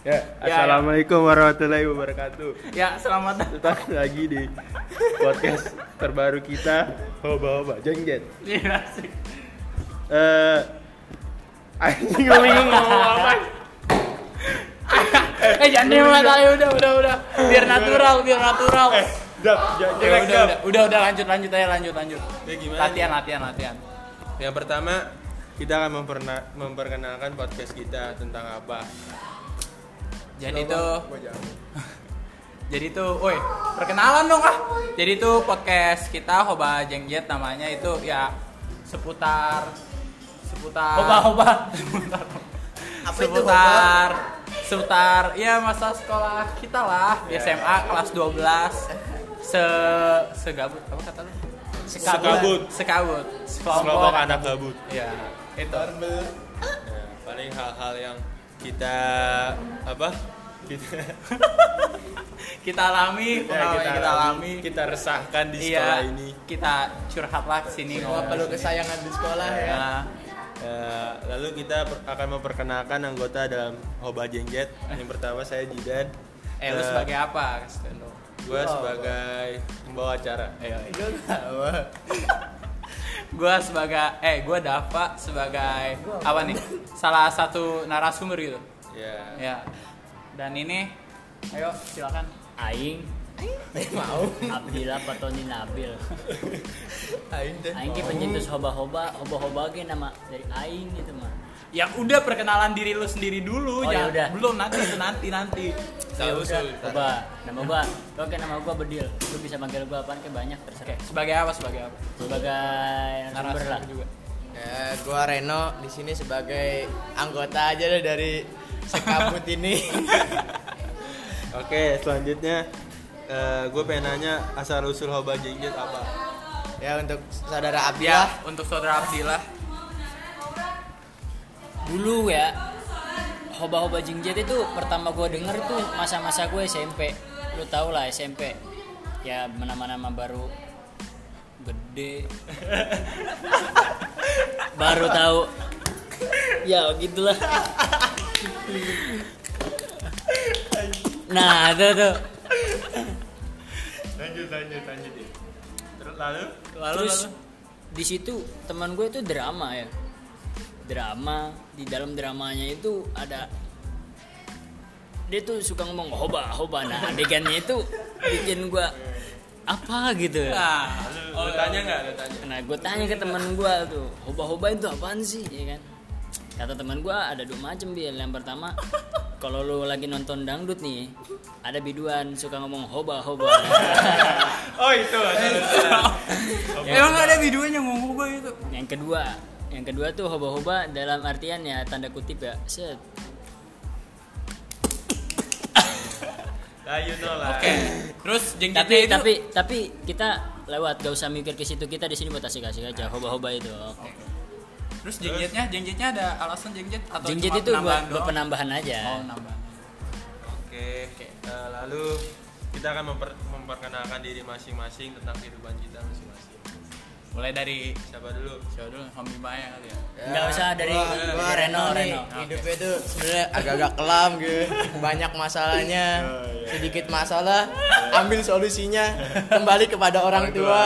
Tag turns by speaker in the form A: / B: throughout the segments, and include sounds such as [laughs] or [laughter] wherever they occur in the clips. A: Ya,
B: Ya,
A: assalamualaikum warahmatullahi wabarakatuh.
B: Ya, selamat datang.
A: Kita lagi di podcast terbaru kita, hoba-hoba jengjet.
B: Iya, asik.
A: Eh, [laughs] anjing gue bingung ngomong apa.
B: Eh, jangan diem lah, ayo udah, udah, udah. Biar natural, biar natural.
A: Eh, dap,
B: Ya,
A: jangan jelek
B: udah, udah,
A: dap.
B: udah, udah, udah, lanjut, lanjut aja, lanjut, lanjut.
A: Ya, gimana?
B: Latihan, latihan, latihan.
A: Yang pertama, kita akan memperna- memperkenalkan podcast kita tentang apa.
B: Jadi tuh,
A: Gua jawab.
B: jadi tuh, woi, perkenalan dong ah. Jadi tuh podcast kita Hoba Jengjet namanya itu ya seputar seputar
C: Hoba-hoba.
B: seputar
C: Apa itu
B: seputar seputar ya masa sekolah kita lah
A: Iya.
B: di SMA kelas 12 se segabut apa kata lu
A: Sekabut.
B: sekabut
A: Sekelompok anak gabut.
B: ya itu
A: Ya, paling hal-hal yang kita apa? Kita,
B: kita alami pengalaman yang kita alami
A: Iya, kita resahkan di
B: iya
A: sekolah ini.
B: kita curhat lah kesini
C: Kalau
B: ngomong
C: perlu kesayangan di sekolah ya.
B: Nah,
A: Eh, lalu kita per- akan memperkenalkan anggota dalam Hoba Jengjet. Yang pertama saya Jidan.
B: eh lu sebagai apa kasih Eh, tau dong.
A: gue sebagai pembawa acara.
B: Ayo, ayo.
C: Lu tahu.
B: Gua sebagai eh gua Dava sebagai apa nih? Salah satu narasumber gitu.
A: Ya.
B: Ya. Dan ini ayo silakan.
D: Aing
C: Mau.
D: Abdillah Patoni Nabil
C: Aing teh.
D: Aing ki pencetus hoba-hoba Hoba-hoba ge nama dari Aing gitu mah
B: Ya udah perkenalan diri lu sendiri dulu
D: Oh,
B: ya.
D: yaudah.
B: Belum nanti itu nanti nanti.
D: Ya
A: Tahu
D: udah,
A: usul.
D: Hoba Nama gua Oke nama gua Bedil Lu bisa manggil gua apaan ke banyak
B: Oke,
D: terserah
B: sebagai apa sebagai apa?
D: Sebagai narasumber lah
B: Narasumber juga.
C: Ya, gua Reno di sini sebagai anggota aja deh dari sekabut ini.
A: Oke, selanjutnya gue pengen nanya asal usul Hoba Jengjet apa?
C: ya untuk saudara
B: Ya,
C: Abdillah.
B: untuk saudara Abdillah.
D: Dulu ya Hoba-hoba jengjet itu pertama gua denger tuh masa-masa gue SMP Lu tau lah SMP Ya nama-nama baru Gede Baru tahu Ya gitulah Nah itu tuh
A: Lanjut, lanjut, lanjut ya. Terus lalu?
B: Lalu
D: Terus
B: lalu.
D: di situ teman gue itu drama ya. Drama di dalam dramanya itu ada dia tuh suka ngomong hoba hoba nah adegannya itu bikin gue apa gitu ya.
B: Nah,
A: Oh, lu tanya nggak? Lu tanya.
D: Nah gue tanya ke teman gue tuh hoba hoba itu apaan sih ya kan? Kata teman gue ada dua macam bil. Yang pertama kalau lu lagi nonton dangdut nih ada biduan suka ngomong hoba hoba.
A: Oh itu.
B: emang ada videonya ngomong gua gitu. itu.
D: Yang kedua, yang kedua tuh hoba-hoba dalam artian ya tanda kutip ya. Set.
A: Nah, you know lah.
B: Oke. Terus jengjetnya
D: Tapi
B: itu
D: tapi tapi kita lewat gak usah mikir ke situ kita di sini buat asik-asik aja hoba-hoba itu.
B: Terus jengjetnya, jengjetnya ada alasan jengjet atau
D: Jengjet
B: cuma
D: itu buat, buat
B: doang?
D: penambahan aja.
B: Oh, nambah.
A: Oke. Eh, lalu kita akan memper- memperkenalkan diri masing-masing tentang kehidupan kita masing-masing.
B: Mulai dari
A: Siapa dulu?
B: siapa dulu? Homi Maya kali ya.
D: Nggak usah dari-
C: gua, gua
D: dari
C: Reno,
D: Reno,
C: nih.
D: Reno.
C: Hidupnya tuh sebenarnya agak-agak kelam gitu. Banyak [laughs] masalahnya. Sedikit masalah, ambil solusinya kembali kepada
D: Iya.
C: orang tua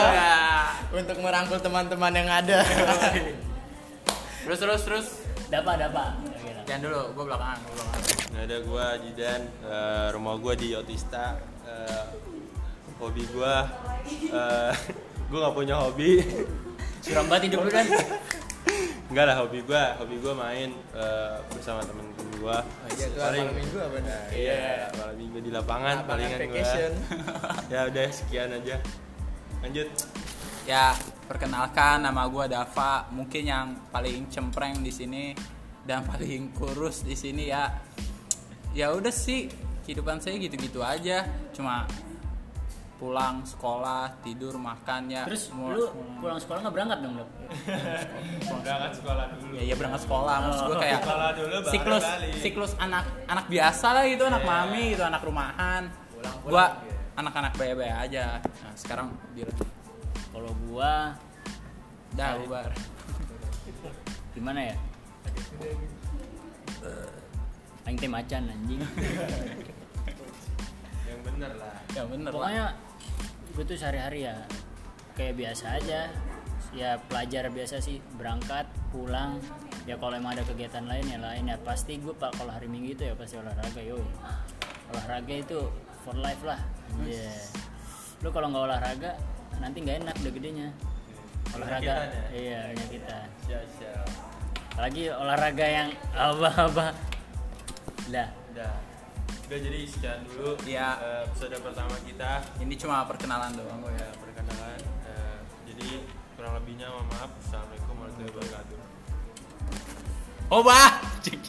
C: untuk merangkul teman-teman yang [laughs] ada.
B: Terus terus terus.
D: Dapa dapa.
B: Jangan dulu, gua belakangan, gua belakangan.
A: Nggak ada gua Jidan, Eh, rumah gua di Otista. Eh, hobi gua eh, [laughs] gua nggak punya hobi. [laughs]
D: Suram banget hidup lu kan.
B: [laughs]
A: Enggak lah hobi gua, hobi gua main eh, bersama temen-temen gua. Paling
C: minggu apa nih?
A: iya, malam minggu di lapangan, palingan
C: vacation.
A: gua. [laughs] Ya udah sekian aja. Lanjut.
B: Ya, perkenalkan nama gua Dava, mungkin yang paling cempreng di sini dan [laughs] paling kurus di sini ya. Ya udah sih, kehidupan saya gitu-gitu aja. Cuma pulang sekolah, tidur, makan ya.
D: Terus
B: Mul-
D: lu pulang sekolah nggak berangkat dong lu?
A: Berangkat kan sekolah dulu.
B: ya iya berangkat sekolah maksud gue kayak
A: Sekolah dulu, baru
B: siklus
A: balik.
B: siklus anak anak biasa lah gitu anak mami gitu anak rumahan gua anak-anak bebe aja nah sekarang biar
D: Kalau gua
B: dah bubar
D: gimana ya? Aing teh macan anjing.
A: yang bener lah
B: ya bener lah.
D: Pokoknya gue tuh sehari-hari ya kayak biasa aja. Ya pelajar biasa sih berangkat, pulang. Ya kalau emang ada kegiatan lain ya lain ya pasti gue pak kalau hari Minggu itu ya pasti olahraga yo. Olahraga itu for life lah. Iya. Lu kalau nggak olahraga nanti nggak enak udah gedenya. Olahraga,
A: Penyakitan ya?
D: iya penyakitan.
A: siap-siap
D: Lagi olahraga yang [laughs] apa-apa. Lah,
A: udah udah jadi sekian dulu
B: Iya.
A: eh, episode pertama kita
B: ini cuma perkenalan doang
A: Oh ya perkenalan eh, jadi kurang lebihnya mohon maaf assalamualaikum warahmatullahi wabarakatuh
B: Oba! Cik.